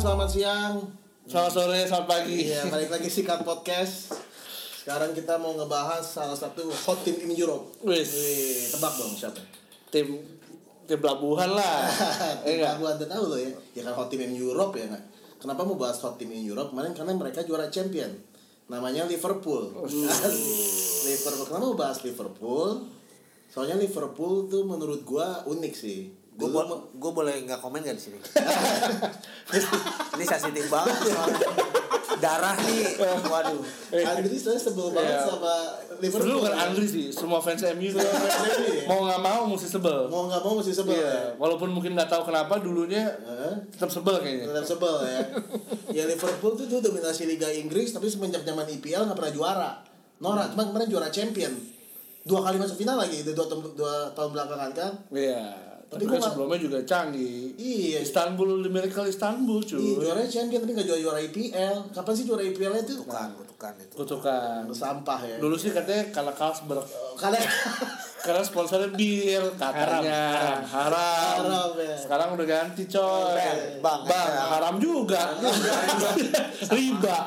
siang. Selamat sore, selamat pagi. Iya, balik lagi sikat podcast. Sekarang kita mau ngebahas salah satu hot team in Europe. Wis. Wih, Eh, tebak dong siapa? Tim tim pelabuhan lah. Eh, Iya enggak? gua udah tahu loh ya. Ya kan hot team in Europe ya nggak? Kenapa mau bahas hot team in Europe? Kemarin karena mereka juara champion. Namanya Liverpool. Oh, Liverpool. Kenapa mau bahas Liverpool? Soalnya Liverpool tuh menurut gua unik sih. Gue Dulu- boleh nggak komen nggak di sini? Ini sensitif banget soalnya. Darah nih, waduh. Andri sebenarnya sebel banget Eh. Iya. sama Liverpool. Iya, Sebelum bukan Andri kan, sih, semua fans MU tuh. Andri. mau nggak mau mesti sebel. Mau nggak mau mesti sebel. Iya, walaupun mungkin nggak tahu kenapa dulunya ya. Hah? tetap sebel kayaknya. Tetap sebel ya. ya Liverpool tuh dulu dominasi Liga Inggris tapi semenjak zaman IPL nggak pernah juara. Norak, cuma kemarin juara champion. Dua kali masuk final lagi, dua, tahun- dua tahun belakangan kan. Iya. Tapi Tapi, gua kan nggak- sebelumnya juga canggih. Iya. Istanbul, The Miracle Istanbul Iya, cuy. juaranya champion tapi nggak juara juara IPL. Kapan sih juara IPL-nya tuh? Bukan, bukan itu. Kutukan. Sampah ya. Oh, Dulu sih katanya kalau Carlsberg Kalian karena sponsornya bir katanya haram, Haram, ya. sekarang udah ganti coy Bang, bang. bang ya. haram juga riba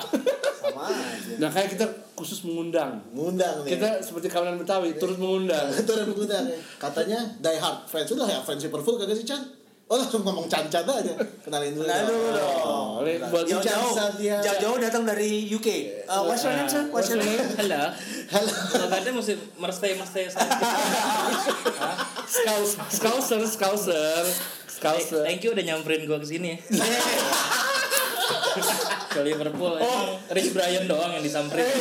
Sama aja. nah kayak kita khusus mengundang ngundang nih. kita seperti kawanan betawi turut mengundang itu udah mengundang ya. Katanya die hard fans udah ya fans Liverpool kagak sih Chan? Oh langsung ngomong Chan-Chan aja. Kenalin dulu. Kenalin dulu dong. Oh, ini buat Yo, Chan. Jauh-jauh, Satya. jauh-jauh datang dari UK. Eh, what's your name, sir? What's your name? Halo. Halo. Kalau ada mesti merestui merestui saya. Scouse- scouser scouser scouser Eh, Thank you udah nyamperin gua ke sini. ke Liverpool. Oh. Rich Brian doang yang disamperin. Eh,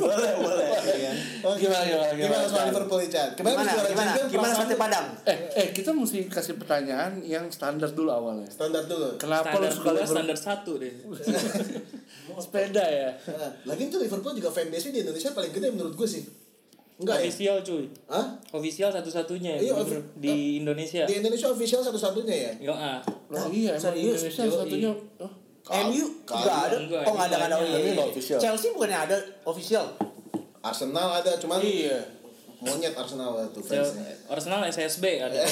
boleh, boleh. Iya. Oh, Gimana, gimana, Gimana gimana, soal Chan? Liverpool nih, Chan? Kemarin Gimana, juara kan gimana? champion Gimana perasaan sate Padang? eh eh kita mesti kasih pertanyaan yang standar dulu awalnya Standar dulu. kenapa lo Standar suka dua, Liverpool? standar satu deh. sepeda ya Nah, Lagi itu Liverpool juga fanbase-nya di Indonesia paling gede menurut gue sih. Enggak ya? Official cuy. Hah? Official satu-satunya Iya, di- offi- di Indonesia. Di Indonesia official satu-satunya ya? Yo ah. Loh, iya emang Serius? Indonesia Yoi. satunya oh, MU nggak ada. Enggak, Oh nggak ada nggak ada. enggak, Oh, iya, enggak iya. official. Chelsea bukannya ada official? Arsenal ada, cuman Iya. monyet Arsenal tuh Cel- fansnya. Arsenal SSB ada. Eh,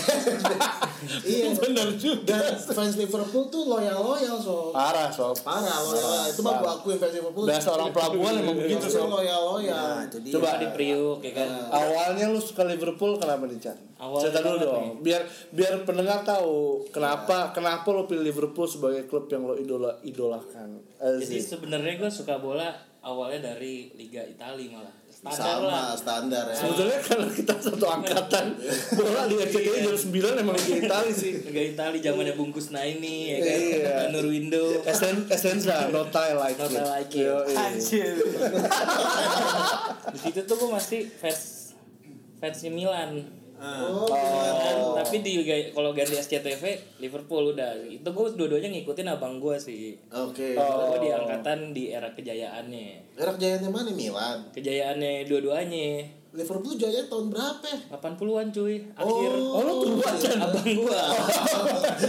iya. bener juga Dan fans Liverpool tuh loyal-loyal so. parah sob Parah loyal. Itu mah gue akuin fans Liverpool. Iya, Bahasa orang pelabuhan emang begitu Pasti sob loyal-loyal. Nah, itu dia. Coba. di Priuk ya kan. Eh, Awalnya lu suka Liverpool kenapa nih Chan? Awalnya Cerita dulu banget dong. Biar biar pendengar tahu kenapa Iya. kenapa lu pilih Liverpool sebagai klub yang lo idola idolakan. Jadi Aziz. sebenarnya gua suka bola awalnya dari Liga Italia malah. Standar lah. Sama standar ya. Sebetulnya kalau kita satu angkatan bola di RCTI Iya. jam 9 emang di Itali sih. Liga Itali zamannya bungkus nah ini ya kan. Iya. Nurwindo. Esen, esensa, not I like Not it. I like it. Yoi. Anjir. Di situ tuh gue masih fans fansnya Milan. Oh, Dan- tapi di Liga- kalau ganti SCTV Liverpool udah. Itu gue dua-duanya ngikutin abang gue sih. Oke. Gue di angkatan di era kejayaannya. Erak jayanya mana Milan? Kejayaannya dua-duanya. Liverpool jaya tahun berapa? ya? 80-an cuy. Akhir. Oh, Oh, lu tua, Chan. Abang gue.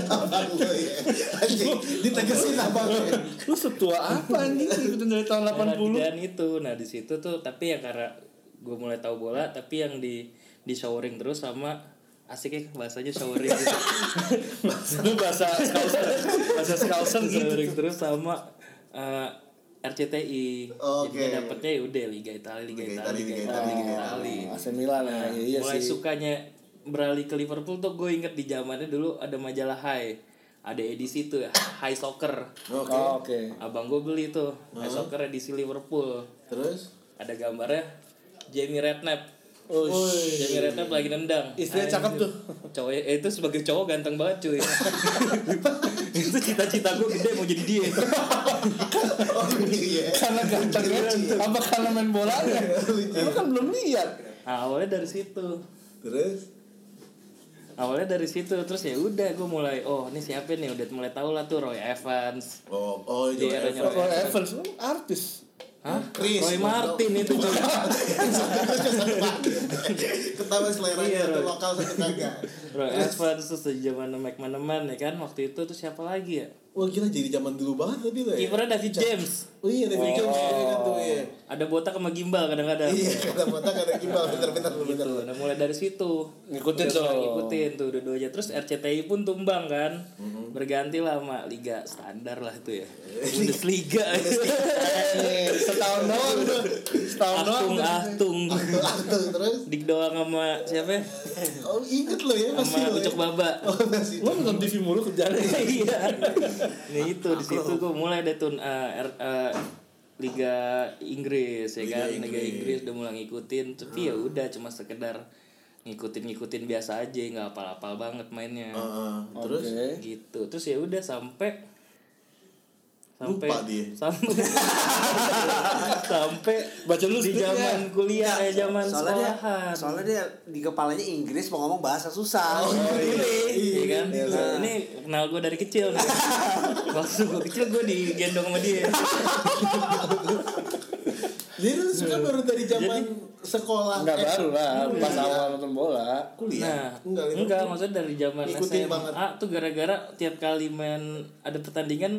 Abang lu ya. Anjing, Ditegesin abang ya. Lu setua apa anjing ikutin dari tahun 80? Dan itu. Nah, di situ tuh tapi ya karena gue mulai tahu bola tapi yang di di showering terus sama asiknya bahasanya showering gitu. Lu bahasa Scouser. Bahasa Scouser gitu. Showering terus sama eh, RCTI. Oke. Jadi dapetnya ya udah Liga Italia, Liga Liga Italia, Italia, Liga Liga Italia, Liga Italia. Italia. Oh, AC Milan ya, iya, iya mulai sih. sukanya beralih ke Liverpool tuh gue inget di zamannya dulu ada majalah High. Ada edisi tuh ya, High Soccer. Oke. Oh, Oke. Abang gue beli tuh High Soccer edisi Liverpool. Terus? ada gambarnya Jamie Redknapp Ush. Jamie Redknapp lagi nendang Oh, Istrinya cakep tuh. cowok eh, itu sebagai cowok ganteng banget cuy itu cita-cita gue gede mau jadi dia Oh iya. Karena ganteng ya? Apa karena main bolanya? Lu kan belum lihat. Nah, awalnya dari situ Terus? awalnya dari situ terus ya udah gue mulai oh ini siapa nih udah mulai tahu lah tuh Roy Evans Oh, oh Di iya. eranya Roy Evans lu artis. Hah? Chris. Roy Martin itu cuy Ketawa Iya, seleranya itu Roy. lokal satu kagak. Roy Evans terus di zaman McManaman ya kan waktu itu tuh siapa lagi ya Wah gila jadi zaman dulu banget tapi lo ya. kipernya David James Oh iya, David Jones iya, kan tuh iya. ada botak sama gimbal kadang-kadang Iya, kata botak kata gimbal bener-bener bener. gitu. Nah mulai dari situ Ngikutin Udah mulai tuh. ngikutin tuh dua-duanya. Terus RCTI pun tumbang kan. Mhm. berganti lah sama liga standar lah itu ya Bundesliga Eh, setahun doang tuh. Setahun doang. Achtung tuh. Achtung Tuh, terus Dik doang sama siapa ya? oh inget lo ya pasti sama lo ya. Ucok Baba oh masih Lo nonton TV mulu kerjaannya. iya nah itu di situ gue mulai deh tuh eh, R- eh, liga Inggris ya Liga kan liga Inggris. Inggris udah mulai ngikutin tapi ya udah cuma sekedar ngikutin ngikutin biasa aja nggak apal-apal banget mainnya Heeh, terus Oke. gitu terus ya udah sampai sampai Lupa dia. sampai sampai Baca dulu di skripnya. zaman kuliah ya zaman soalnya dia, sekolahan soalnya dia di kepalanya Inggris mau ngomong bahasa susah. Oh, Iya kan? Nah, ini kenal gue dari kecil nih. Waktu gue kecil gue digendong sama dia. jadi lu suka kan baru dari zaman sekolah Enggak eh, baru lah, pas awal nonton bola. kuliah Nah, Iya. enggak enggak, Liverpool. maksudnya dari zaman Ngikutin SMA banget. tuh gara-gara tiap kali main ada pertandingan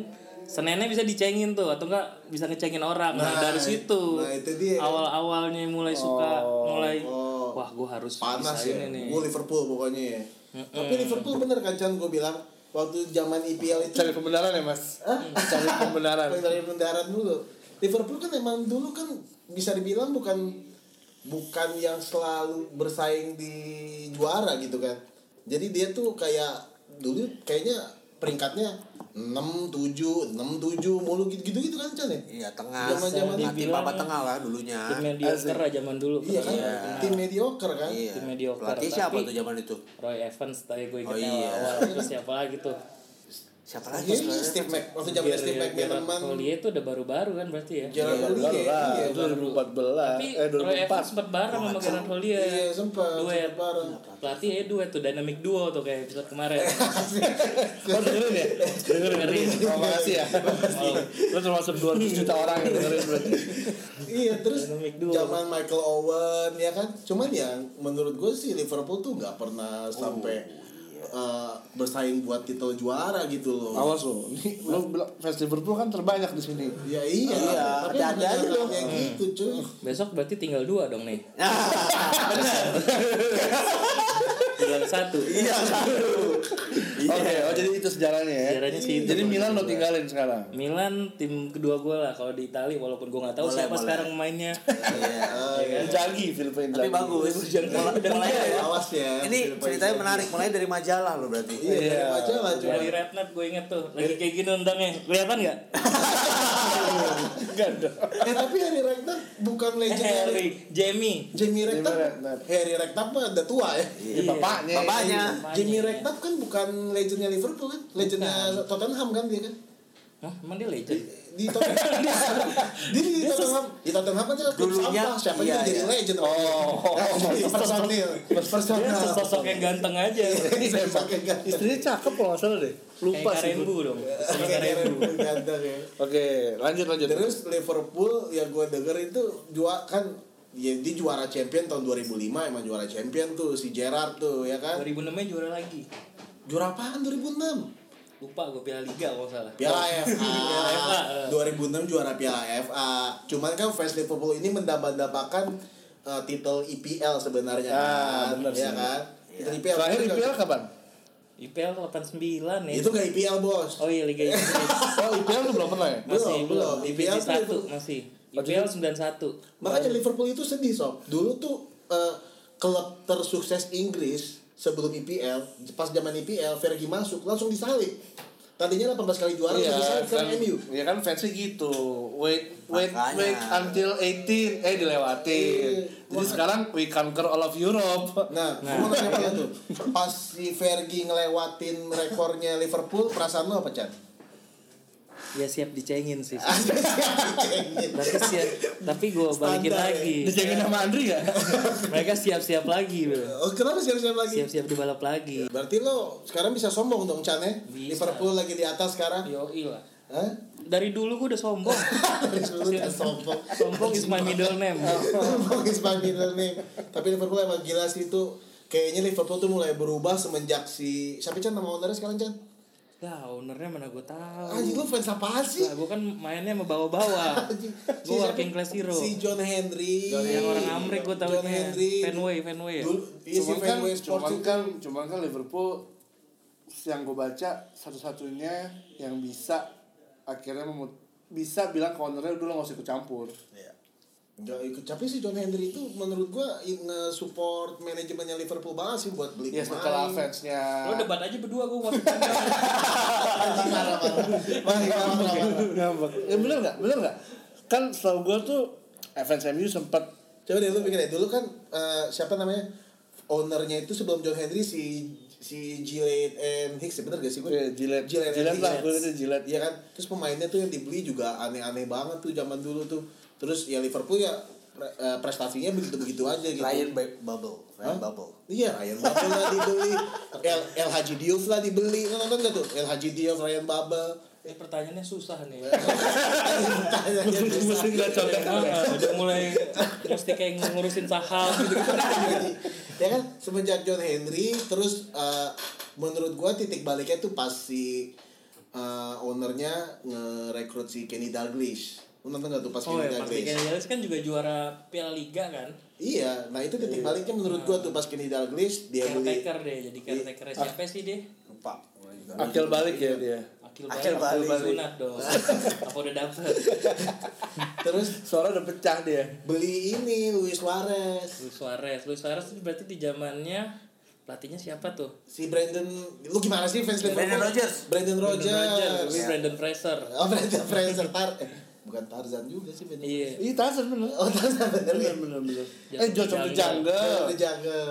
Senennya bisa dicengin tuh atau enggak bisa ngecengin orang. Nah, Nah, dari situ nah, itu dia. awal-awalnya mulai suka mulai oh. wah gue harus panas bisa ya ini nih. gue Liverpool pokoknya ya tapi Liverpool bener kan Chan gue bilang waktu zaman IPL itu Cari pembenaran ya, Mas? Cari pembenaran. Mulai dari bundaran dulu. Liverpool kan emang dulu kan bisa dibilang bukan bukan yang selalu bersaing di juara gitu kan. Jadi dia tuh kayak dulu kayaknya peringkatnya 6 7 6 7 mulu gitu-gitu gitu kan Chan ya. Iya tengah. Zaman-zaman ya, Nanti dibilang- bapak tengah lah dulunya. Tim mediocre lah zaman dulu. Iya kan? pernah. Tim mediocre kan. Iya. Tim mediocre, Pelatih siapa tapi- tuh zaman itu? Roy Evans tadi gue Oh, ingetnya iya. awal-awal terus siapa lagi tuh? Siapa lagi? Iya, iya, sebenarnya? Steve Mac, waktu zaman Steve Mac Melaman, Collier itu udah baru-baru kan berarti ya. Gerard Baru Houllier, lah, iya, itu 2014. Tapi Eh, Roy Evans 2004. sempat bareng sama Gerard Houllier. Iya, sempat, Duet. Iya. sempat bareng. Pelatihnya duet tuh dynamic duo tuh kayak episode kemarin. Oh, dengerin ya? Dengerin. Dengerin. Oh, makasih ya. Oh, Lo termasuk 200 juta orang yang dengerin berarti. Iya terus Dynamic duo. zaman Michael Owen ya kan. Cuman ya menurut gue sih Liverpool tuh nggak pernah sampai eh, bersaing buat titel juara gitu loh. Awas lo, ini lo bilang fans Liverpool kan terbanyak di sini. Ya iya. Iya, Tapi ada-ada beneran aja loh. Kayak gitu cuy. Besok berarti tinggal dua dong nih. Tinggal satu. Iya. Oke, oh jadi itu sejarahnya ya. Sejarahnya sih itu. Jadi Milan lo tinggalin sekarang. Milan tim kedua gue lah kalau di Itali walaupun gue nggak tahu Boleh, siapa boleh. sekarang mainnya. Iya. Inzaghi, Filippo Tapi Inzaghi. bagus. Mulai, mulai Awas ya. Ini ceritanya menarik. Mulai dari majalah lo Iya, berarti. dari majalah cuman. Dari Redknapp gue inget tuh lagi kayak gini undangnya kelihatan nggak? Enggak dong. Eh tapi Harry Redknapp bukan legendary. Eh, Harry, Jamie, Jamie Jamie Redknapp. Redknapp. Harry Redknapp mah udah tua ya. Iya. Ini Iya, bapaknya. Bapaknya. Jamie Redknapp kan bukan legendnya Liverpool kan, legendnya Tottenham kan dia kan. Hah, emang dia legend? di Tottenham di, di Tottenham di Tottenham aja klub Dulunya, sampah siapa iya, yang jadi iya. legend oh personil Dia personil Iya. sosok yang ganteng aja. sosok yang ganteng. Istrinya cakep kalau nggak salah deh. Lupa Kayak sih. Karen gua. Bu dong. Iya. Sama Kayak Karen Bu. Liverpool ganteng ya. Oke, lanjut lanjut. terus Liverpool ya yang gue denger itu juara kan ya, dia juara champion tahun 2005 emang juara champion tuh si Gerrard tuh ya kan 2006 nya juara lagi. juara apaan 2006 Lupa gue Piala Liga kalau nggak salah. Piala FA Piala FA, eh. 2006 juara Piala FA cuman kan fans Liverpool ini mendambakan titel IPL sebenarnya Ah, kan benar ya sih. Iya. kan titel IPL Terakhir Itu IPL nggak- kapan? IPL 89 ya. itu nggak IPL bos Oh iya Liga Inggris. Oh, IPL tuh belum pernah ya? Masih Belum, belum. belum. IPL IPL tuh 1 belum. masih. IPL 91. makanya Liverpool itu sedih sob dulu tuh eh, klub tersukses Inggris sebelum IPL pas zaman IPL Fergie masuk langsung disalib tadinya 18 kali juara Iya, langsung disalib kan, ke MU iya kan fansnya gitu. Wait, wait, Makanya. wait until 18 eh dilewatin. Jadi sekarang we conquer all of Europe. Nah, lu nonton apa tuh? Pas si Fergie ngelewatin rekornya Liverpool, perasaan lu apa, Chan? Ya siap dicengin sih. Tapi Tapi siap. Tapi gue balikin Standar ya. lagi. Dicengin sama Andri ya? Mereka siap-siap lagi. bro. Oh, kenapa siap-siap lagi? Siap-siap dibalap lagi. Berarti lo sekarang bisa sombong dong, Chan ya? Bisa. Iya. Liverpool lagi di atas sekarang. Yoi lah. Hah? Dari dulu gue udah sombong. Disuruh Chan sombong. Sombong is my middle name. Sombong is my middle name. Tapi Liverpool emang gila sih itu. Kayaknya Liverpool tuh mulai berubah semenjak si siapa Chan nama ownernya sekarang Chan? Ya ownernya mana gue tahu. Anjing lu fans apaan sih? Lah gue kan mainnya sama bawa-bawa. Anjing. Si gue siapa? working class hero. Si John Henry. yang orang Amrik gue tahu John Henry. Fenway, Fenway ya. Dulu iya si cuman kan, Fenway Sports cuman itu. kan, cuman kan Liverpool yang gue baca satu-satunya yang bisa akhirnya memut- bisa bilang ke ownernya udah lo gak usah ikut campur Iya. Nggak ikut capek sih John Henry itu menurut gua i- nge-support manajemennya Liverpool banget sih buat beli ya setelah pemain. fansnya Lo debat aja berdua gue masuk Marah, marah, marah. Marah, marah, marah. ngambek ya bener gak? bener gak? kan setahu gue tuh eh, fans MU sempet Coba deh lu pikir deh, dulu kan eh, siapa namanya? Ownernya itu sebelum John Henry si si Gillette and Hicks, ya, bener gak sih gua? ya, jilat Jilat, jilat jilat. lah gue itu jilat Iya kan? Terus pemainnya tuh yang dibeli juga aneh-aneh banget tuh zaman dulu tuh. Terus ya Liverpool ya pre- eh, prestasinya begitu-begitu aja gitu. Ryan Ba- Bubble, Ryan Hah? Bubble. Iya, Ryan Babel lah dibeli. El, El Haji Diouf lah dibeli. Lu nonton gak tuh? El Haji Diouf, Ryan Babel. Eh pertanyaannya susah nih. Pertanyaannya susah. mesti nggak cocok Ah, udah mulai mesti kayak ngurusin saham gitu. Jadi, ya kan semenjak John Henry terus eh, menurut gua titik baliknya tuh pas si eh, ownernya ngerekrut si Kenny Dalglish. Lu nonton gak tuh iya, pas Oh Kenny ya, Martin Dalglish? Gales kan juga juara Piala Liga kan. Iya, nah itu titik baliknya menurut gua tuh pas Kenny Dalglish dia beli Caretaker deh, jadi caretaker siapa sih dia? Lupa. akil balik ya dia Akil Akil balik, akil balik. sunat dong. Apa udah dapet? terus soalnya udah pecah dia beli ini Luis Suarez. Luis Suarez, Luis Suarez itu berarti di zamannya pelatihnya siapa tuh? Si Brandon lu gimana sih fans Liverpool? Brandon Rodgers. Brandon Iya. Rodgers. Rodgers, Iya. Brandon Fraser. Oh, Brandon Fraser Tar eh, bukan Tarzan juga sih bener. Iya. Iya Tarzan bener Oh, Tarzan bener ya. bener bener bener Jatuh eh Josh of the ke Brandon Jungle Dijaga.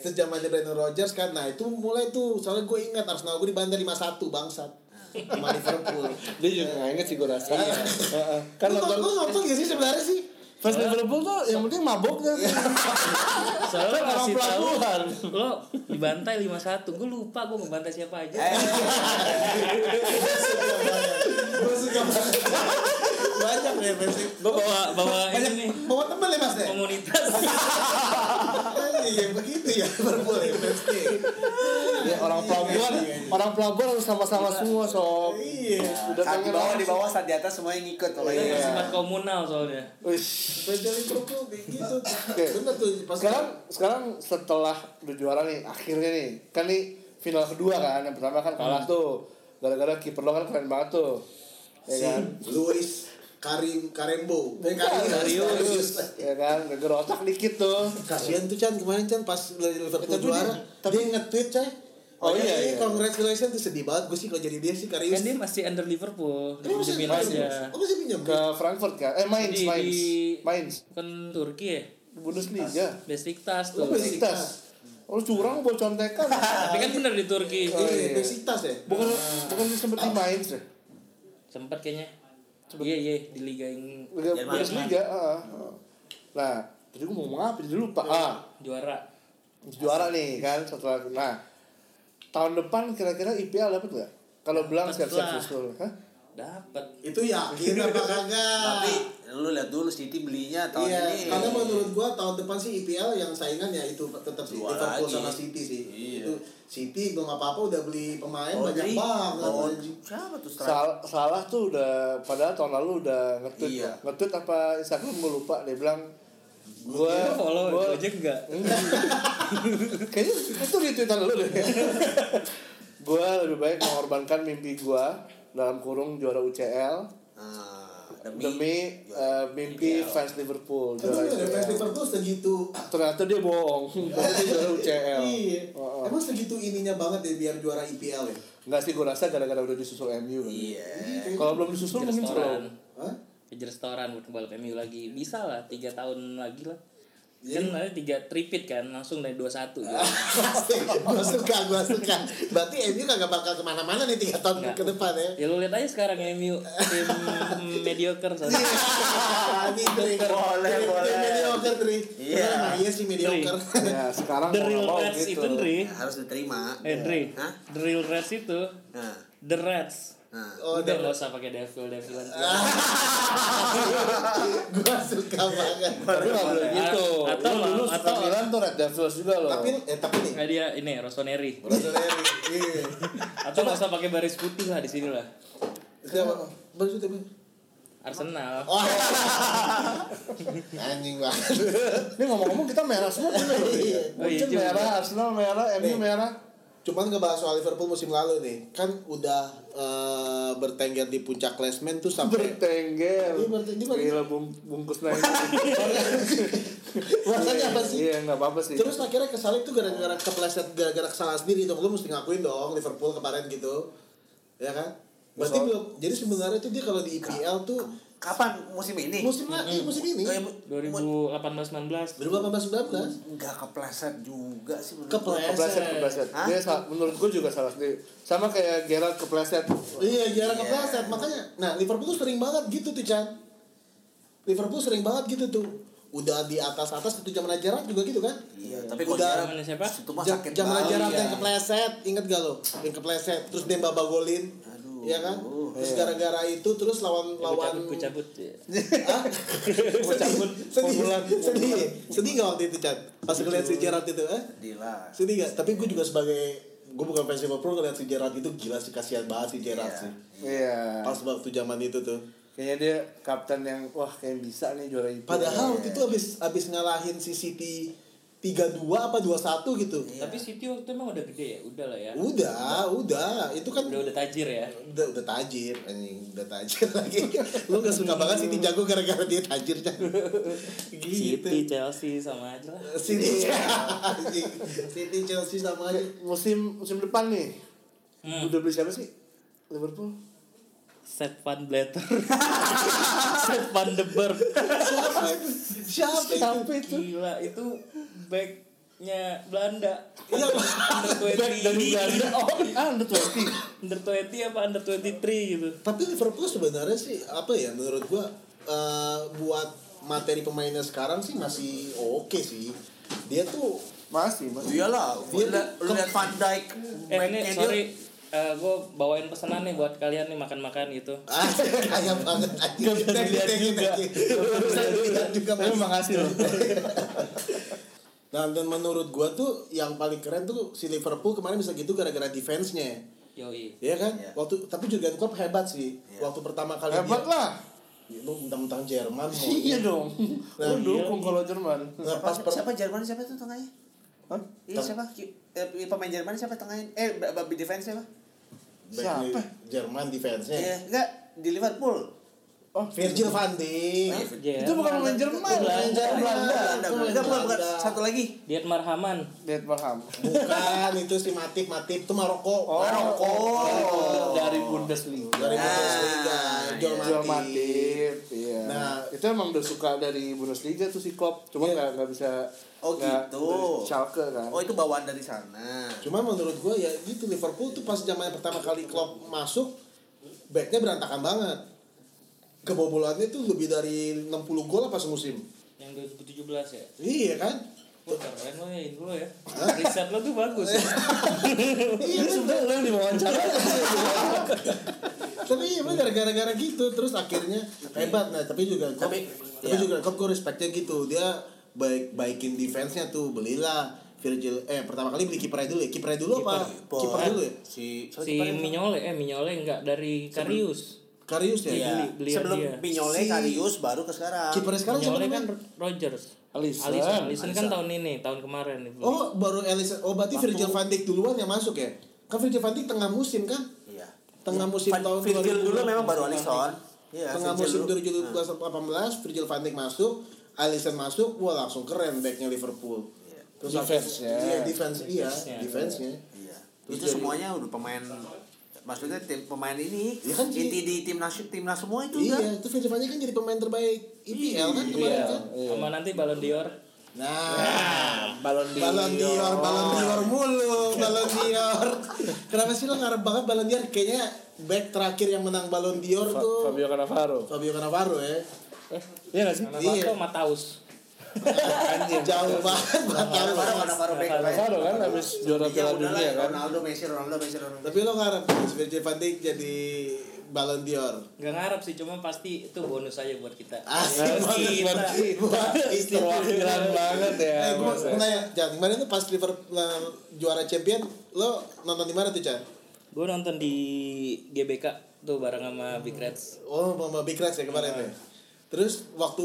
Terus zamannya Brandon Rodgers kan, nah itu mulai tuh soalnya gue ingat Arsenal gue dibantai 5-1 bangsat sama Liverpool. Iya. dia juga nggak inget sih gue rasa Heeh. kan Lu nonton lu nonton nonton gak sih sebenarnya sih? fans Liverpool tuh yang penting maboknya Kan Soalnya lo orang kasih tahu pelabuhan. lo dibantai 5-1. Gue lupa gue ngebantai siapa aja. Eh, Gue suka banget. Banyak ya fans. Gue bawa bawa Banyak ini nih bawa temen ya Mas deh. komunitas. Iya begitu ya Liverpool ya fans. ya orang pelabuhan orang pelabuhan harus sama-sama semua sob Iya. udah saat kangen di bawah banget di bawah saat di atas semuanya ngikut pokoknya. Kita Sifat komunal soalnya. Wish. Fans dari Liverpool kayak gitu. Oke. Bener tuh pas sekarang sekarang setelah udah juara nih akhirnya nih kan nih final kedua kan yang pertama kan kalah Hmm. tuh gara-gara kiper lo kan keren banget tuh Iya, si ya kan Luis Karim Karembo. Eh, Karius. ya kan gara otak dikit tuh Kasihan tuh Chan kemarin Chan pas Liverpool Tapi juara, dia- dia nge-tweet Chan. Oh, iya, iya. congratulations tuh sedih banget gue sih kalau jadi dia sih Kan Karius. dia masih under Liverpool. Dia masih Dipinjemin pinjam. aja. Oh, masih pinjam. ke Frankfurt kan eh Mainz Di- Mainz di- Mainz Bukan Turki ya? Bundesliga Besiktas lo tuh. Besiktas lo Oh, curang buat contekan Tapi kan bener di Turki. Iya, iya. Besiktas ya. bukan bukan sempet di Mainz ya Sempat kayaknya. Iya iya di liga yang Liga Jerman. Bundesliga ah, ah. nah jadi gue mau ngomong apa jadi lupa Ya. ah juara. juara nih kan setelah nah tahun depan kira-kira IPL dapat nggak kalau bilang Ya, Dapet siap-siap lah. susul Hah? Dapat. Itu yakin apa kagak? Tapi lu lihat dulu City belinya tahun Iya, ini. karena menurut gua tahun depan sih IPL yang saingan ya itu tetap sih Dua Liverpool lagi. sama City sih. Iya. Itu City belum apa-apa udah beli pemain banyak Rodri. banget Oh, anjing. siapa tuh striker? Sal- salah tuh udah padahal tahun lalu udah ngetweet Iya. ngetweet apa Instagram gue lupa dia bilang gue Lo follow ya, gue gue aja enggak. kayaknya itu di Twitter lu deh gue lebih baik mengorbankan mimpi gue dalam kurung juara UCL Ah, demi eh, mimpi fans Liverpool Tapi juara Kan E ada fans UCL. Liverpool segitu. ternyata dia bohong ternyata dia juara UCL Iya. Oh, oh. Emang segitu ininya banget ya biar juara IPL ya? Enggak sih gue rasa gara-gara udah disusul MU kan. Iya. Kalau belum disusul Di mungkin restoran. slow. Hah? Di restoran buat balik MU lagi. Bisa lah tiga tahun lagi lah. Kan ada tiga tripit kan langsung dari 21 gitu. gua suka, gua suka. Berarti MU kagak bakal kemana-mana nih tiga tahun Nggak. ke depan ya. Ya lu lihat aja sekarang MU tim mediocre soalnya. Iya. Ini Dri. Boleh, Dri, Dri boleh. gitu. mediocre, Dri. Iya. Nah, iya sih mediocre. Ya, sekarang The mau real nggak mau Reds gitu. itu Dri. Harus diterima. Eh Dri. Hah? The real Reds itu Nah, The Reds. nah. Oh, Udah Dri. nggak usah pakai devil devilan. gua suka banget. Tapi nggak boleh A- gitu. atau- Lu dulu suka atau- Milan tuh Red Devils juga loh. Tapi eh tapi nih. Nah, dia ini Rossoneri. Brother Larry, Iya. Atau nggak usah pakai baris putih lah di sini lah. Siapa? Baru sudah, Bang. Arsenal. Oh. Anjing banget. ini ngomong-ngomong kita merah semua bener loh. Iya. Munchen Oh, juga. merah, Arsenal merah, MU Nih. merah. Cuman ngebahas soal Liverpool musim lalu nih, kan udah eh, bertengger di puncak klasmen tuh sampai bertenggel Iya, bertenggel. gila bung- bungkus naik rasanya apa sih? iya nggak apa-apa sih Terus akhirnya kesalip tuh gara-gara kepleset gara-gara kesalahan sendiri dong. Lu mesti ngakuin dong Liverpool kemarin gitu. Ya kan? Berarti Betul. belum. Jadi sebenarnya tuh dia kalau di EPL tuh Kapan musim ini? musim lagi musim ini Eh, mu- 2018 19 2018 19 Nggak kepleset juga sih menurut Kepleset. kepleset kepleset Hah? dia sa- menurut gue juga salah sendiri sama kayak Gerard kepleset Iya, jarang Iya. kepleset. Makanya, nah Liverpool tuh sering banget gitu tuh, Chan. Liverpool sering banget gitu tuh. Udah di atas-atas itu zaman Gerrard juga gitu kan? gue. Iya, tapi Udah. ya, Gerard- Zamannya siapa? Itu mah Ja- sakit Zaman banget. Gerrard Iya. yang kepleset, inget gak lo? Yang kepleset, terus Demba bagolin. Aduh. Iya kan? Terus gara-gara itu terus lawan lawan Gua cabut, ya. gua cabut. Hah? sedih, cabut. sedih, Pemulan, sedih, sedih gak waktu itu Chan? Pas ngeliat si Gerrard itu, eh? Gila. Sedih gak? Tapi gue juga sebagai gue bukan fans Liverpool ngeliat si Gerrard itu gila sih kasihan banget si Gerrard Iya. sih. iya Pas waktu zaman itu tuh. kayaknya dia kapten yang wah kayak bisa nih juara itu Padahal waktu Iya. itu abis abis ngalahin si City 3-2 apa 2-1 gitu. Tapi City waktu itu emang udah gede ya, udah lah Iya. ya. Udah, udah. Itu kan Udah udah tajir ya. udah, udah tajir anjing, udah tajir lagi. Lu gak suka banget City jago gara-gara dia tajir Chan. Gitu. City, Chelsea sama aja lah. City Iya. anjing. City Chelsea sama aja. musim musim depan nih Hmm. udah beli siapa sih Liverpool Sepp Van Blatter. Sepp Van de Berg. Siapa itu? Siapa itu? siapa itu Gila, itu backnya Belanda. Iya, Under back dari 20. Belanda oh ah, under 20 Under 20 apa under 23 gitu. tapi Liverpool sebenarnya sih apa ya menurut gua eh, buat materi pemainnya sekarang sih masih oke sih. Dia tuh masih masih Iyalah, lu Iya, liat- lu ke- lihat Van Dijk Eh ini backnya dia- sorry, gue bawain pesanan nih buat kalian nih makan-makan gitu. Ah, kaya banget anjing. Gak bisa dilihat juga. Gak bisa dilihat juga tapi Mas. makasih loh Nah, dan menurut gua tuh yang paling keren tuh si Liverpool kemarin bisa gitu gara-gara defense-nya. Yoi. Iya kan? Iya. Waktu tapi Jurgen Klopp hebat sih. Waktu pertama kali hebat lah dia lu tentang Jerman mau. iya dong Nah, lu dukung kalau Jerman Nah, Siapa, pas per- siapa Jerman siapa tuh tengahnya? Hah? Iya siapa? Ki- eh, pemain Jerman siapa tengahnya? Eh, b- babi defense siapa? back Siapa? Jerman defense-nya. Iya, enggak di Liverpool. oh Virgil van Dijk. itu bukan pemain Bukan Jerman Iya. pemain Jerman. Belanda Belanda Iya, Belanda, Belanda, bukan, bukan. Satu lagi. Diet Marhaman. Lihat paham Bukan itu si Matip, Matip itu Maroko. Maroko Oh. dari Bundesliga Dari Bundesliga, Ah, Joel Jual Matip. Matip, iya. Nah, itu emang udah suka dari Bundesliga tuh si Klopp, cuma Iya. nggak nggak bisa Oh, nggak gitu. dari Schalke kan. Oh, itu bawaan dari sana. Cuma menurut gue ya gitu Liverpool tuh pas zamannya pertama kali Klopp masuk backnya berantakan banget. Kebobolannya tuh lebih dari 60 gol apa semusim. Yang 2017 ya. Iya kan? Wah keren lo ya, lo ya. Riset lo tuh bagus. iya kan? Udah lu di wawancara. Tapi iya bener gara-gara gitu terus akhirnya hebat nah tapi juga Klopp, tapi, Tapi- iya. juga Klopp gue respectnya gitu dia baik baikin defense-nya tuh belilah Virgil eh pertama kali beli kipernya dulu ya kipernya dulu apa Kiper. kiper dulu ya Si si Minyole, eh Minyole enggak dari Karius. Karius ya Iya. beli- belian Sebelum dia. Pinyole, Si- Karius baru ke sekarang. kipernya sekarang siapa Minyole kan namanya? Rogers. Alisson. Alisson, Alisson kan tahun ini, tahun kemarin. dibeli. Oh, baru Alisson. Oh, berarti Virgil van Dijk duluan yang masuk ya? Kan Virgil van Dijk tengah musim kan? Iya. Tengah musim Van- tahun Virgil 2000. dulu memang baru Alisson. Iya, Tengah musim Virgil dulu. 2018, Virgil van Dijk masuk, Alisson masuk, wah langsung keren backnya Liverpool. Terus Defense-nya. Iya, defense iya, defense-nya. Iya. Terus itu jadi- semuanya udah pemain maksudnya tim pemain ini Iya kan, inti di timnas timnas semua itu Iya, kan. itu Virgil van Dijk kan jadi pemain terbaik IPL kan Iya. kemarin kan? Iya. Sama nanti Ballon d'Or. Nah, Balon di. Balon Dior, Balon Iya. Dior mulu, Balon Dior. Kenapa sih lo ngarep banget Balon Dior? Kayaknya back terakhir yang menang Balon Dior tuh Fabio Cannavaro. Fabio Cannavaro ya. Eh, Iya nggak sih? mana Iya. Marco Mataus. Jauh banget bakal. Baru baru baru baru back back. Cannavaro kan habis juara Ya Piala udahlah, Dunia kan. Ronaldo, Messi, Ronaldo, Messi, Ronaldo. Tapi lo ngarep Virgil van Dijk jadi Ballon d'Or. Gak ngarep sih, cuma pasti itu bonus aja buat kita. Asik banget buat buat istilah. Iya, Perwakilan banget ya. Eh, gue mau masa. nanya, Jan, kemarin tuh pas Liverpool eh, juara champion, lo nonton di mana tuh, Jan? Gue nonton di GBK tuh bareng sama Big Reds. Oh, sama Big Reds ya kemarin ya. Terus waktu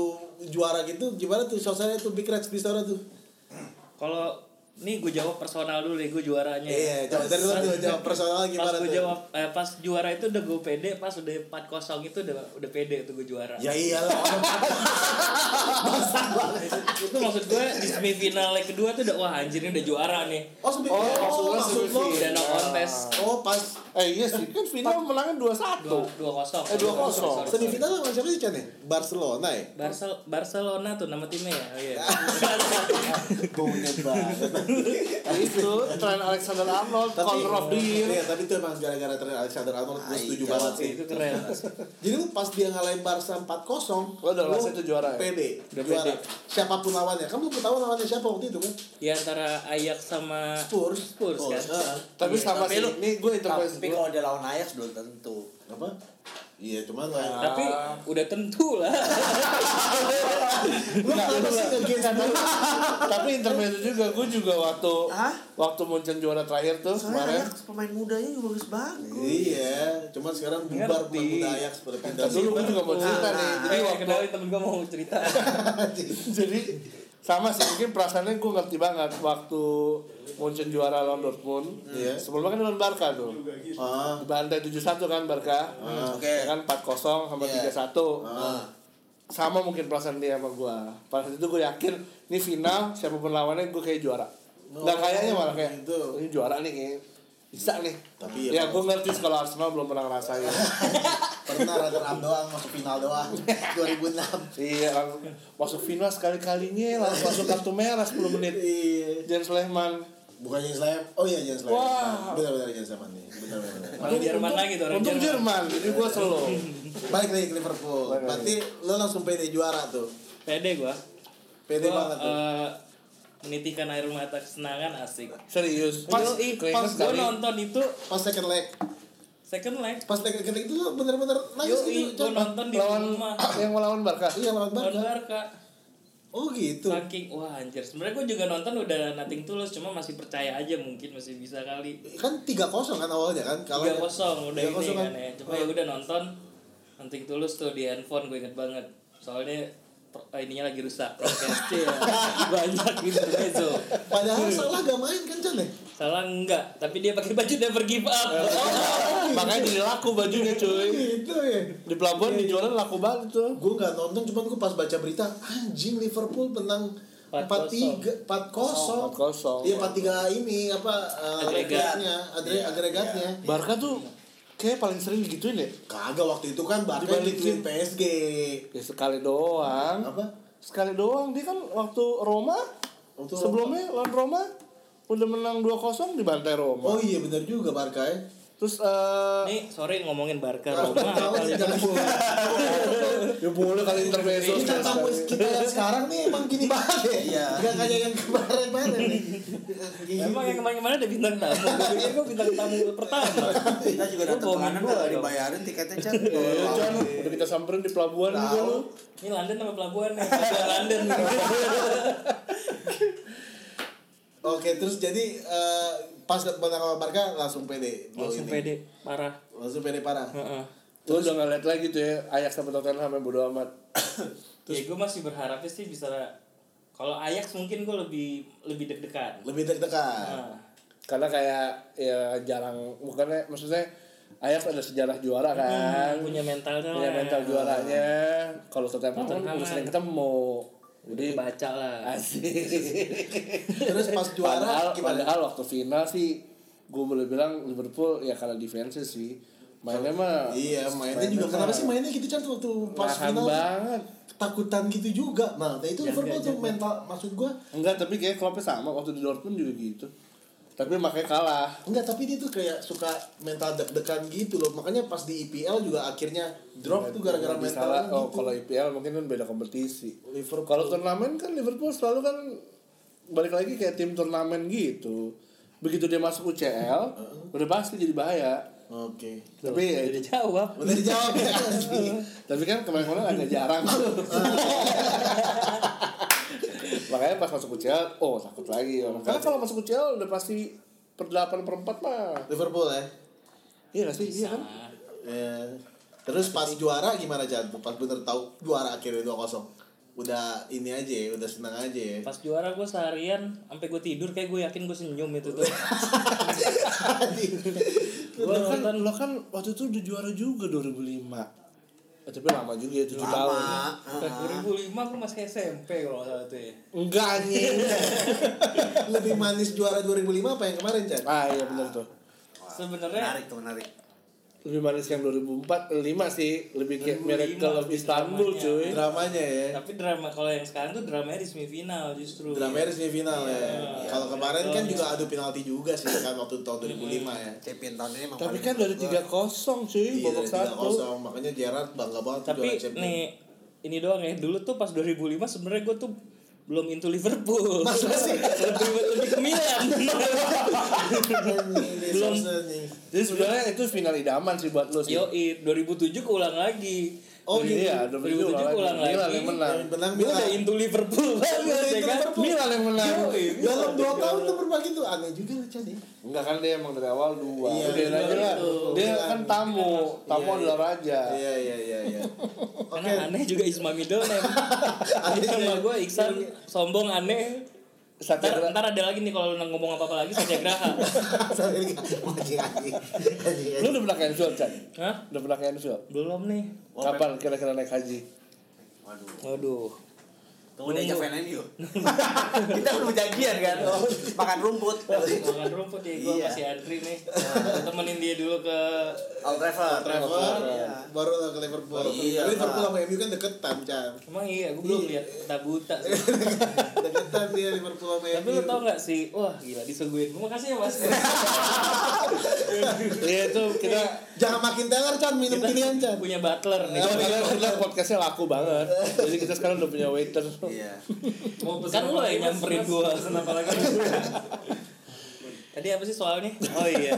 juara gitu, gimana tuh suasananya tuh Big Reds di sana tuh? Kalau nih gue jawab personal dulu nih gue juaranya. Iya, jawab dari lu Pas- tuh, jawab personal Pas gimana gue tuh? jawab eh, pas juara itu udah gue pede, pas udah 4-0 itu udah udah pede tuh gue juara. Ya iyalah. itu maksud gue di semifinal leg kedua tuh udah wah anjir ini udah juara nih. Oh, sebelum Oh, oh, maksud lu maksud lu. semifinal. Udah no contest Oh, pas Eh iya sih, kan final menangnya 2-1. 2-0. Eh, 2-0. Oh. semifinal sama siapa sih Chan ya? Barcelona ya? Barcel Barcelona tuh nama timnya ya. Oh iya. Baunya banget. itu tren Alexander Arnold Tapi- Connor of the Year Iya, tapi itu emang gara-gara tren Alexander Arnold gue Ah, setuju iya. banget sih. itu keren. Jadi lu pas dia ngalahin Barca 4-0, Lu udah ngerasa itu juara ya? Pede, Udah juara. pede. Siapapun lawannya, kamu belum tahu lawannya siapa waktu itu kan? Di antara Ajax sama Spurs, Spurs, kan? eh, tapi sama sih ini gue interpretasi Iya, Tapi kalau dia lawan Ajax belum tentu. apa? Iya, cuman lah. Tapi udah tentu lah. Lu kenapa sih nge-gains kan dulu? tapi intermezzo juga gue juga waktu Hah? waktu Munchen juara terakhir tuh Soalnya kemarin Ajax pemain mudanya juga bagus banget. Iya, cuman sekarang bubar Ngerti. Kan budaya seperti pindah Dan dulu gue juga mau cerita Nah, nih nah. jadi Eh, waktu kenalin temen gue mau cerita. jadi sama sih mungkin perasaannya gue ngerti banget waktu Munchen juara lawan Dortmund Iya. sebelumnya kan lawan Barca tuh Ah, bantai 7-1 kan Barca Oke. Ya kan 4-0 sama Iya. 3-1 ah. sama mungkin perasaan dia sama gue pada saat itu gue yakin ini final siapapun lawannya gue kayak juara dan Oh, kayaknya malah kayak gitu. ini juara nih kayak bisa nih Tapi ya ya, gue ngerti kalau Arsenal belum pernah ngerasain Pernah runner up doang masuk final doang 2006. iya langsung masuk final sekali kalinya langsung masuk kartu merah 10 menit Iya. Jens Lehmann Bukan Jens Lehmann. Oh iya Jens Lehmann. Wah. Benar-benar Jens Lehmann nih. Benar-benar. Orang Jerman lagi tuh, orang untung Jerman jadi gue slow Balik lagi ke Liverpool. Balik lagi. Berarti lo langsung pede juara tuh. Pede gue. Pede Gua, banget tuh. eh, menitikan air mata kesenangan asik. serius Pas, Keringet pas gue kali. nonton itu Pas second leg. second leg. Pas leg second leg itu lo benar-benar nangis Yoi, gitu. gue John. nonton di lawan rumah. yang melawan Barca Iya lawan Lawan Barca. Barca. Oh gitu. Saking wah anjir. Sebenarnya gue juga nonton udah nothing tulus cuma masih percaya aja mungkin masih bisa kali. Kan 3-0 kan awalnya kan kalau tiga kosong udah 3-0 ini kan kan. ya cuma ya udah nonton nanti tulus tuh di handphone gue inget banget soalnya per- eh, ininya lagi rusak broadcastnya banyak intermezzo Padahal salah gak main kan Chan ya? salah enggak tapi dia pakai baju never give up makanya jadi laku bajunya cuy Gitu ya. di pelabuhan dijualan laku banget tuh Gue nggak nonton, cuman gue pas baca berita, anjing Liverpool menang 4-3, 4-0. 4-0. Iya 4-3 ini apa eh, Agregat. agregatnya, agre- agregatnya. Barca tuh kayak paling sering digituin ya. Kagak waktu itu kan Barca yang dituin Dibalikin. PSG. Ya sekali doang. Apa? Sekali doang dia kan waktu Roma Waktu sebelumnya lawan Roma udah menang 2-0 di bantai Roma. Oh iya benar juga Barca ya. Terus eh nih sore ngomongin Iya, Barca Tahu, Roma tahu, Italia. jangan bohong. ya boleh kali intermezzo Ini kan tamu kita yang sekarang nih emang gini banget ya. Iya. Gak kayak yang kemarin-kemarin ya. nih. Emang yang kemarin-kemarin ada bintang tamu, gue pikir gue bintang tamu pertama Kita juga Lu datang ke bohongin London gua nggak dong. dibayarin tiketnya Chan. Iya, Jon. udah kita samperin di pelabuhan juga Tahu. lu. Ini London sama pelabuhan nih, pelabuhan London Oke, terus jadi eh, pas menang sama Barca langsung pede. Gol Langsung ini. pede, parah Langsung pede parah. Heeh. Lu udah ngeliat lagi tuh ya Ajax sama Tottenham yang bodo amat. Ya gue masih berharapnya sih bisa kalau Ajax mungkin gue lebih lebih deg-degan. Lebih deg-degan. Nah, Karena kayak ya jarang bukannya maksudnya Ajax ada sejarah juara kan. punya mentalnya. Punya lah. mental juaranya kalau Tottenham kan Tottenham. udah sering ketemu. Jadi Ah, Baca lah. asik. Terus pas juara padahal, gimana? padahal waktu final sih gue boleh bilang Liverpool ya kalah defense sih. Mainnya mah Iya, mainnya juga. Kenapa sih mainnya gitu kan waktu pas Nahan final? banget. Iya, Ketakutan gitu juga. Nah, itu Liverpool tuh mental maksud gua. Enggak, tapi kayak klubnya sama waktu di Dortmund juga gitu. Tapi makanya kalah. Enggak, tapi dia tuh kayak suka mental deg-degan gitu loh. Makanya pas di EPL juga akhirnya drop tuh gara-gara Lebih mental Iya, salah. Oh, gitu. kalau IPL mungkin kan beda kompetisi. Liverpool. Kalau turnamen kan Liverpool selalu kan balik lagi kayak tim turnamen gitu. Begitu dia masuk UCL, udah pasti jadi bahaya. Oke. Tapi ya Jadi jawab. Udah dijawab ya. asli. Tapi kan kemarin-kemarin agak jarang Makanya pas masuk UCL, oh takut lagi Karena kalau masuk UCL udah pasti per 8 per 4 mah Liverpool ya. Iya gak sih? Iya kan? Eh, Ya. Terus pas juara gimana Jan? Pas bener tahu juara akhirnya 2-0. udah ini aja ya, udah senang aja ya. Pas juara gue seharian sampai gue tidur kayak gue yakin gue senyum itu tuh. Lo gue kan, nonton lo kan waktu itu udah juara juga 2005 Eh, tapi lama juga ya, 7 tahun Lama. Heeh. 2005 gue masih SMP kalau nggak salah tuh ya. Enggak anjing Lebih manis juara 2005 apa yang kemarin, Chan? Ah iya bener tuh Wah, Sebenarnya- menarik tuh menarik. Lebih manis yang 2004, eh, 5 sih Lebih kayak 2005 Miracle of lebih Istanbul dramanya. cuy Dramanya ya. Tapi drama kalau yang sekarang tuh dramanya di semifinal justru. Dramanya di semifinal ya. Kalau kemarin kan Iya. Hmm. juga adu penalti juga sih kan waktu tahun 2005 ya. Champion tahun ini emang Tapi paling kan dari menurut gua- 3-0 cuy, Iya, babak dari 1 3-0 makanya Gerard bangga banget tuh Tapi juara champion. nih ini doang ya. Dulu tuh pas 2005 sebenarnya gue tuh belum into Liverpool. Masa sih? lebih lebih ke Milan. Belum. Jadi sebenarnya itu final idaman sih buat lo sih Yoi, 2007 keulang lagi. Oh, Dua ribu- gitu. Iya, 2007 2007 ulang keulang lagi. lagi. Milan yang menang Yang menang Gue udah Milan. into Liverpool banget Udah ya into kan. Liverpool. Milan yang menang Yoi, Milan Dalam 2 tahun tuh berbagi tuh aneh juga lah Chan ya. Enggak kan dia emang dari awal dua. Iya, Udah iya, aja lah. itu. Dia Iya. kan tamu, tamu Iya, adalah raja. Iya iya iya iya. Oke. Karena aneh juga Isma Aneh Midonem. Aneh sama juga. gue Iksan sombong aneh. Iya. Satya Gra- Ntar, ntar ada lagi nih kalau lu ngomong apa apa lagi Satya Graha. Sampai enggak anjing anjing. Anjing, anjing. Lu udah pernah ke Enfield, Chan? Hah? Udah pernah ke Enfield? Belum nih. Kapan kira-kira naik haji? Waduh. Waduh. Tuh udah ajak fan MU. Kita udah janjian kan. Oh, makan rumput. Makan rumput ya gue Iya. masih antri nih. Temenin dia dulu ke Old Trafford. Travel Iya. baru lah ke Liverpool. Iya, Tapi Liverpool Pak. sama MU kan deketan, Chan. Emang iya, gue belum lihat peta buta sih. Deketan dia Liverpool sama MU. Tapi lu tau gak sih, wah gila disuguhin. Makasih ya mas. Iya itu kita Jangan makin teler, Chan, minum Iya. ginian, Chan. Punya butler nih. kita kita, kita podcastnya laku banget. Jadi kita sekarang udah punya waiter. Iya. Mau Kan lu yang nyamperin gua. Kenapa lagi? Tadi apa sih soalnya? Oh iya.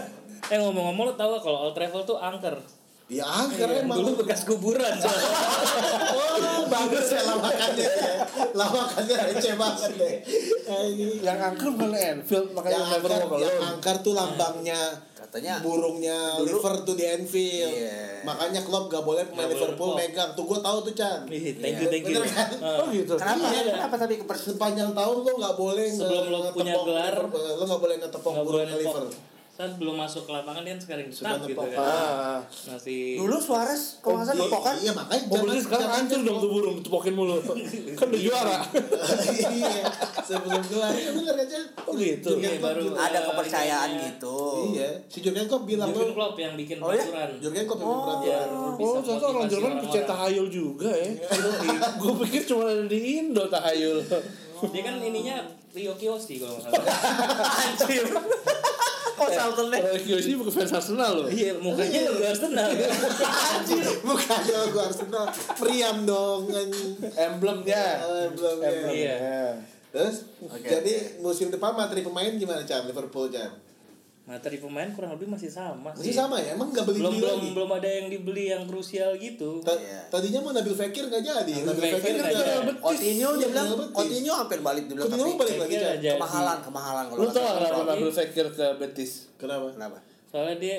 Eh ngomong-ngomong lu tau gak kalau Old Travel tuh angker. Ya Iya. akhirnya emang. Dulu bekas kuburan. soalnya. Oh, bagus ya lawakannya. ya. Lawakannya receh banget deh. Ini Yang angker bukan Enfield, makanya yang never angker, walk yang alone. angker tuh lambangnya Katanya burungnya dulu- liver tuh di Anfield. Iya. Makanya Klopp gak boleh pemain Nggak boleh Liverpool Klopp. megang. Tuh gue tahu tuh, Chan. Ih, Thank you, thank you. Bener kan? Ah. Oh gitu. Kenapa? Iya. Kenapa tapi kepersen? Sepanjang tahun lo gak boleh Sebelum lo ngetepok punya gelar, Liverpool. Lo gak boleh ngetepok Nggak boleh burungnya liver. nepok. Saat belum masuk ke lapangan dia sekarang Sudah tetap gitu nepok. kan. Ah. Masih Dulu Suarez kalau nggak salah Iya, tepokan. Iya, makanya Mobilnya jangan- sekarang jangan hancur dong tuh burung, tepokin mulu. Kan udah juara. iya sebelum gelar ya bener aja Oh gitu. Jurgen Iya, Klopp baru. bilang. Ada kepercayaan Iya. gitu. iya si Jurgen Klopp bilang Jurgen Iya. lo Klopp yang bikin Oh, iya? peraturan. Jurgen Klopp yang Oh. Biar perhatian bisa Oh, ternyata orang motivasi Jerman orang-orang. pecinta tahayul juga ya. Gue pikir cuma ada di Indo tahayul. Dia kan ininya Rio Kiyoshi kalau nggak salah. Anjir. Kok Charlton deh? Kalau Kyoshi Eh, bukan fans Arsenal loh. Iya, mukanya juga Arsenal. anjir bukan dong gue Arsenal priam dong kan Emblemnya. Eh, belum ya. Emblemnya. Iya. terus Iya. Oke, jadi musim depan materi pemain gimana Chan Liverpool Chan Materi pemain kurang lebih masih sama sih. masih sama ya emang nggak beli Iya. belum beli belum lagi belum ada yang dibeli yang krusial gitu. Ta- Iya. tadinya mau Nabil Fekir nggak jadi Nabil Nabil Fekir Fekir nggak nggak jadi. jadi Coutinho dia bilang Betis. Coutinho hampir balik dia bilang Iya, Coutinho tapi balik lagi Kayaknya Chan jadi. kemahalan kemahalan kalau Lu nggak tau gak salah. kenapa Tapi- Nabil Fekir ke Betis? kenapa Kenapa? Soalnya dia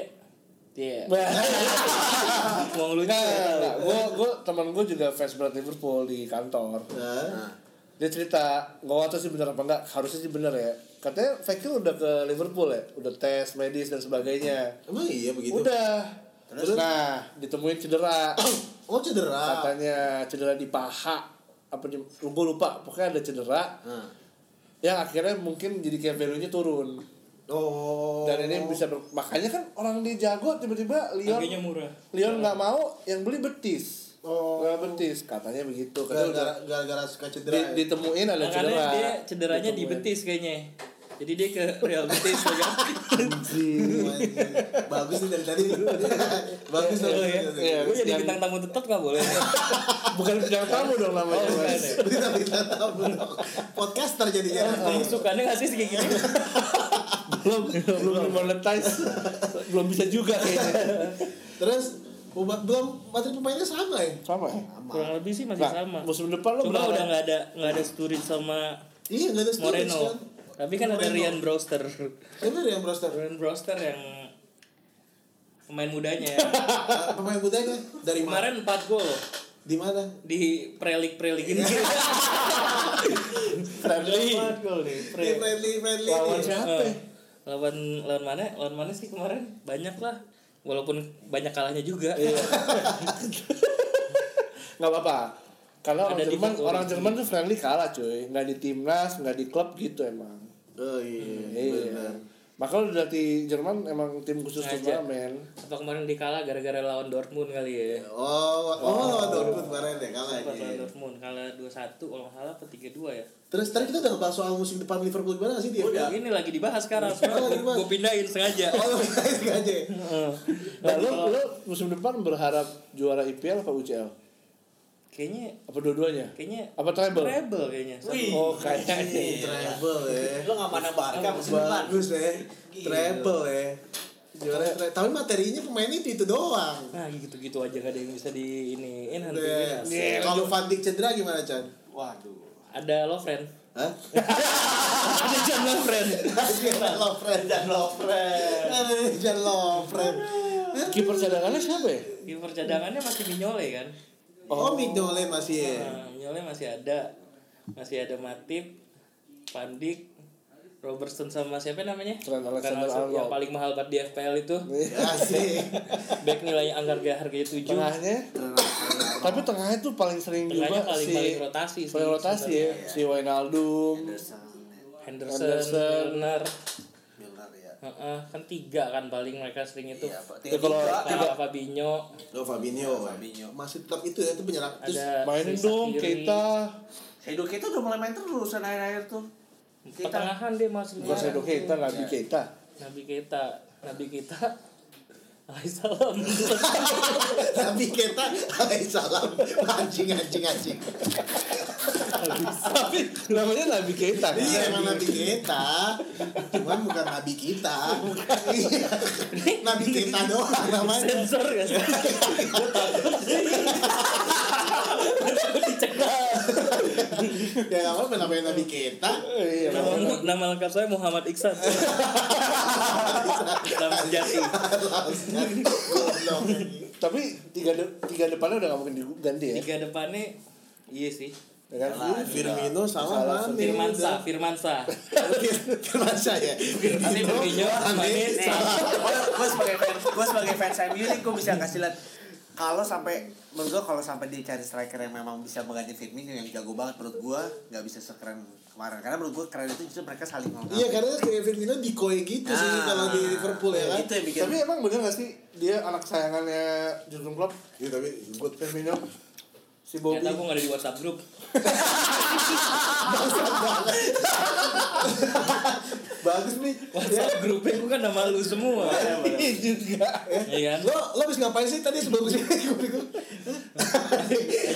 dia Nah, mau lucu. nah, gue gue teman gue juga fans berat Liverpool di kantor. Nah, Nah. Dia cerita, gue gak tau sih bener apa enggak, harusnya sih bener ya. Katanya Fekir udah ke Liverpool ya, udah tes medis dan sebagainya. emang iya begitu Udah. Gitu. Terus nah, ditemuin cedera. oh cedera katanya cedera di paha apa di gue lupa pokoknya ada cedera Nah. yang akhirnya mungkin jadi kayak value-nya turun oh dan ini bisa ber- makanya kan orang di jago tiba-tiba Leon Harganya murah. Leon nggak mau yang beli betis Oh. Nggak betis katanya begitu katanya udah gara-gara gara-gara suka di- cedera ya? ditemuin ada Nah, cedera karena dia cederanya di betis kayaknya. Jadi dia ke Real Betis ya kan. bagus nih dari tadi nih. bagus Oh, bagus, ya. bagus. Iya. Gue jadi Yang- bintang tamu tetap nggak boleh. bukan bidang tamu dong namanya Oh, bukan Mas. iya. ya? berita-berita tamu dong. podcaster jadinya Masukannya Kan, eh, nggak sih kayak gitu? belum belum monetize belum bisa juga kayaknya terus ubat belum materi pemainnya sama ya sama ya Kurang lebih sih masih Nah, sama. musim depan lo ya? Cuma berharap- udah nggak ada nggak ada Sturridge sama iya nggak ada storage Moreno. kan Tapi kan ada Moreno. Rian Brewster. bener ya Broster Rian Brewster yang pemain mudanya. pemain mudanya dari mana Kemarin 4 gol. Di mana? di prelik prelik ini Friendly banget Iya. gol nih. Di friendly friendly. Lawan nih. siapa? Eh, lawan lawan mana lawan mana sih kemarin banyak lah walaupun banyak kalahnya juga Iya. Nggak apa-apa. Karena orang Ada di Jerman, favorit. orang Jerman tuh friendly kalah cuy. Nggak di timnas, nggak di klub gitu emang. Oh iya, benar. Iya. Makanya udah di Jerman emang tim khusus Sengaja. turnamen. apa kemarin dikalah gara-gara lawan Dortmund kali ya Iya. Oh, oh, lawan Dortmund kemarin deh Sempat lawan kalahnya. Dortmund kalah 2-1 kalau nggak salah apa 3-2 ya Terus tadi kita udah ngebahas soal musim depan Liverpool gimana Iya, sih dia? Udah ini lagi dibahas sekarang sekarang dibahas. gue pindahin sengaja Oh, kita sengaja. Iya. Nah, lu, lu musim depan berharap juara IPL apa UCL? kayaknya Apa dua-duanya? kayaknya Apa treble? treble kayaknya Sama- Wih. Oh, kayaknya. Treble ya. Lo nggak mana Barca musim depan? Bagus ya. Treble ya. Juara tre- tapi materinya pemain itu itu doang. nah gitu-gitu aja gak ada yang bisa di ini Iya, nanti Deh. iya. Kalau Van Dijk cedera gimana, Chan? Waduh. ada lo friend Hah? ada jam lo friend Jangan lovren, jangan lovren. Jangan lovren. Kiper cadangannya siapa ya? kiper cadangannya masih Mignole kan Oh, Mignole masih Iya. ya. nah, Mignole masih ada masih ada Matip Pandik Robertson sama siapa namanya? Trent Bukan Alexander-Arnold. Iya. Alexander, Yang paling mahal buat di FPL itu Asik. Back nilainya anggar harganya 7 Tengahnya. Tapi tengahnya tuh paling sering Tengahnya juga paling, si paling rotasi sih paling rotasi ya. Si Wijnaldum. Henderson, Henderson. Milner Iya, Milner ya. Heeh, Kan tiga kan paling mereka sering itu Iya, Pak. Ya, kalau- Tiga-tiga. Ada Fabinho Oh, Fabinho. Fabinho. Masih tetap itu ya, itu penyerang. Terus Ada Mainin Sisa dong Kiri. kita. Edo kita udah mulai main terus kan akhir-akhir tuh. Kita Pertengahan dia masuk Gak sedok kita, Iya. Nabi kita. Nabi kita Nabi kita Alaihissalam Nabi kita alaihissalam anjing anjing anjing. Namanya Nabi kita kan. Iya emang Nabi kita, cuman bukan Nabi kita. Iya. Nabi kita doang namanya. Sensor ya Ya nggak apa-apa namanya Nabi kita. Iya. nama, nama lengkap saya Muhammad Iksan Islam sejati Harusnya goblok. Tapi tiga de- tiga depannya udah gak mungkin diganti ya. Tiga depannya Iya sih Ya kan? Ini Firmino Salah, sama Mane. Firmansa Firmansa Firmansa ya. Nanti Fabinho Mane. Eh, Manis Nih, gue sebagai fans, gue sebagai fans MU nih gue bisa kasih lihat kalau sampai menurut gue kalau sampai dia cari striker yang memang bisa mengganti Firmino yang jago banget menurut gue nggak bisa sekeren kemarin karena menurut gue keren itu justru mereka saling melengkapi. Iya karena kayak Firmino dikoy gitu sih Ah, kalau di Liverpool ya kan. Itu yang bikin Tapi emang bener gak sih dia anak sayangannya Jurgen Klopp? Iya tapi Buat Firmino. Si Bobby. Ya. Ternyata gue gak ada di WhatsApp grup bagus nih. WhatsApp grupnya gue kan nama lu semua Iya juga. Iya kan Lo lo habis ngapain sih tadi sebelum sini?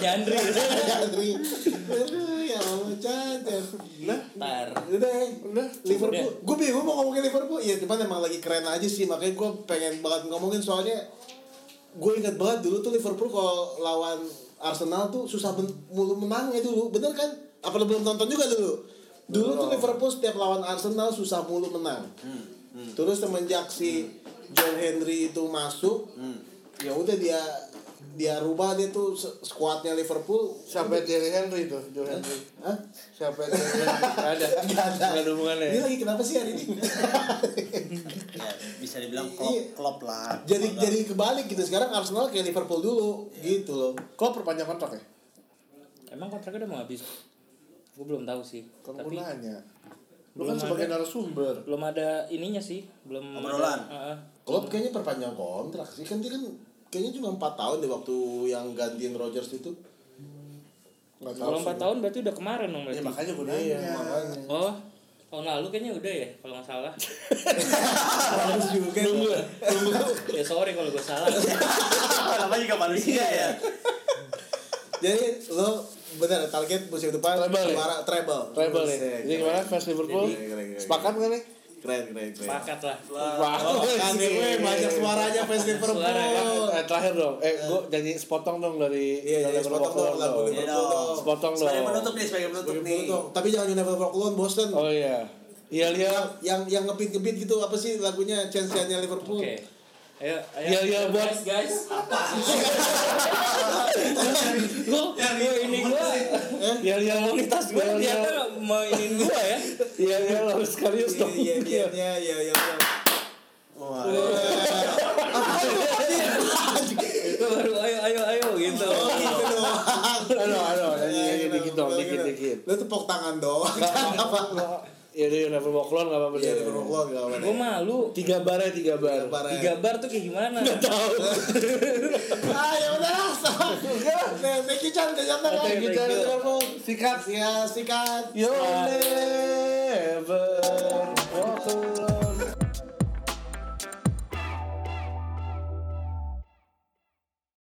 Hanya Andri Aduh, ya Allah, cacat. Nah, Ntar udah ya. Udah. Liverpool, gue bingung mau ngomongin Liverpool ya cuman emang lagi keren aja sih makanya gue pengen banget ngomongin soalnya gue ingat banget dulu tuh Liverpool kalau lawan Arsenal tuh susah ben- mulu menangnya dulu bener kan? apa lo belum nonton juga dulu? dulu tuh Liverpool setiap lawan Arsenal susah mulu menang terus semenjak si John Henry itu masuk ya udah dia dia rubah dia tuh se- skuadnya Liverpool Siapa Thierry Henry tuh? Joe Henry. Hah? Siapa Thierry Henry? Gak ada. Gak ada. Gak ada hubungannya. Ini Iya lagi kenapa sih hari ini? ya, bisa dibilang Iya. klop klop lah. jadi jadi kebalik gitu sekarang Arsenal kayak Liverpool dulu gitu loh. Klopp perpanjang kontrak ya? Emang kontraknya udah mau habis Gue belum tahu sih Kan Tapi gue nanya. Lu Belum kan sebagai ada. narasumber. belum ada ininya sih belum Obrolan. ada- Heeh. Klopp kayaknya perpanjang kontrak sih kan dia kan kayaknya cuma 4 tahun deh waktu yang gantiin Rodgers itu. Gak tahu kalau sih. empat tahun berarti udah kemarin dong Ya Iya, berarti makanya gue nanya. Makanya. oh tahun lalu kayaknya udah ya kalau nggak salah Bagus juga. ya sorry kalau gue salah Lama juga manusia Iya. ya. Jadi lo bener target musim depan Treble ya? juara treble. Treble nih. Buset, ya. Jadi gimana fans Liverpool? Jadi- Keren, keren, Sepakat gak nih? Keren keren keren. sepakat lah Wah, Kan iya, nih, weh, banyak suaranya fans Suara kan. Liverpool. Eh, terakhir dong. Eh, gue nyanyi sepotong dong dari Iya, dari jadi sepotong dong lagu Liverpool dong. Iya Liverpool dong. dong. Sepotong Sebagai dong. penutup nih, sebagai penutup nih. Liverpool dong. Tapi jangan You Never Walk Alone, Boston. Oh iya. Iya lihat. yang yang ngebeat ngebeat gitu apa sih lagunya chance nya Liverpool oke Ayo, ayo. Ya, ya, buat- guys, guys. Apa? Gua, gua ini gua. Yang yang Komunitas gua yang- dia yang- mau iniin gua ya. yang yang Iya, harus serius dong. Iya, iya, iya, iya, iya. Itu baru ayo ayo ayo gitu. Oh, Gitu doang. Aduh, aduh, nyanyi nyanyi Iya, dikit dong, gitu. dikit dikit. Lu tepok tangan doang. Apa? Ya udah, never walk alone nggak apa-apa. Iya, deh. di perempuan gak apa-apa. Gua malu. Tiga bar ya, tiga bar. Parah ya. Tiga bar tuh kayak gimana? Ah, ya udah lah. sama. Udah lah. Nah, Thank you, Chan. Thank you, Chan. Oke, Thank you, thank Chan. you. Sikat. Ya, sikat. You'll never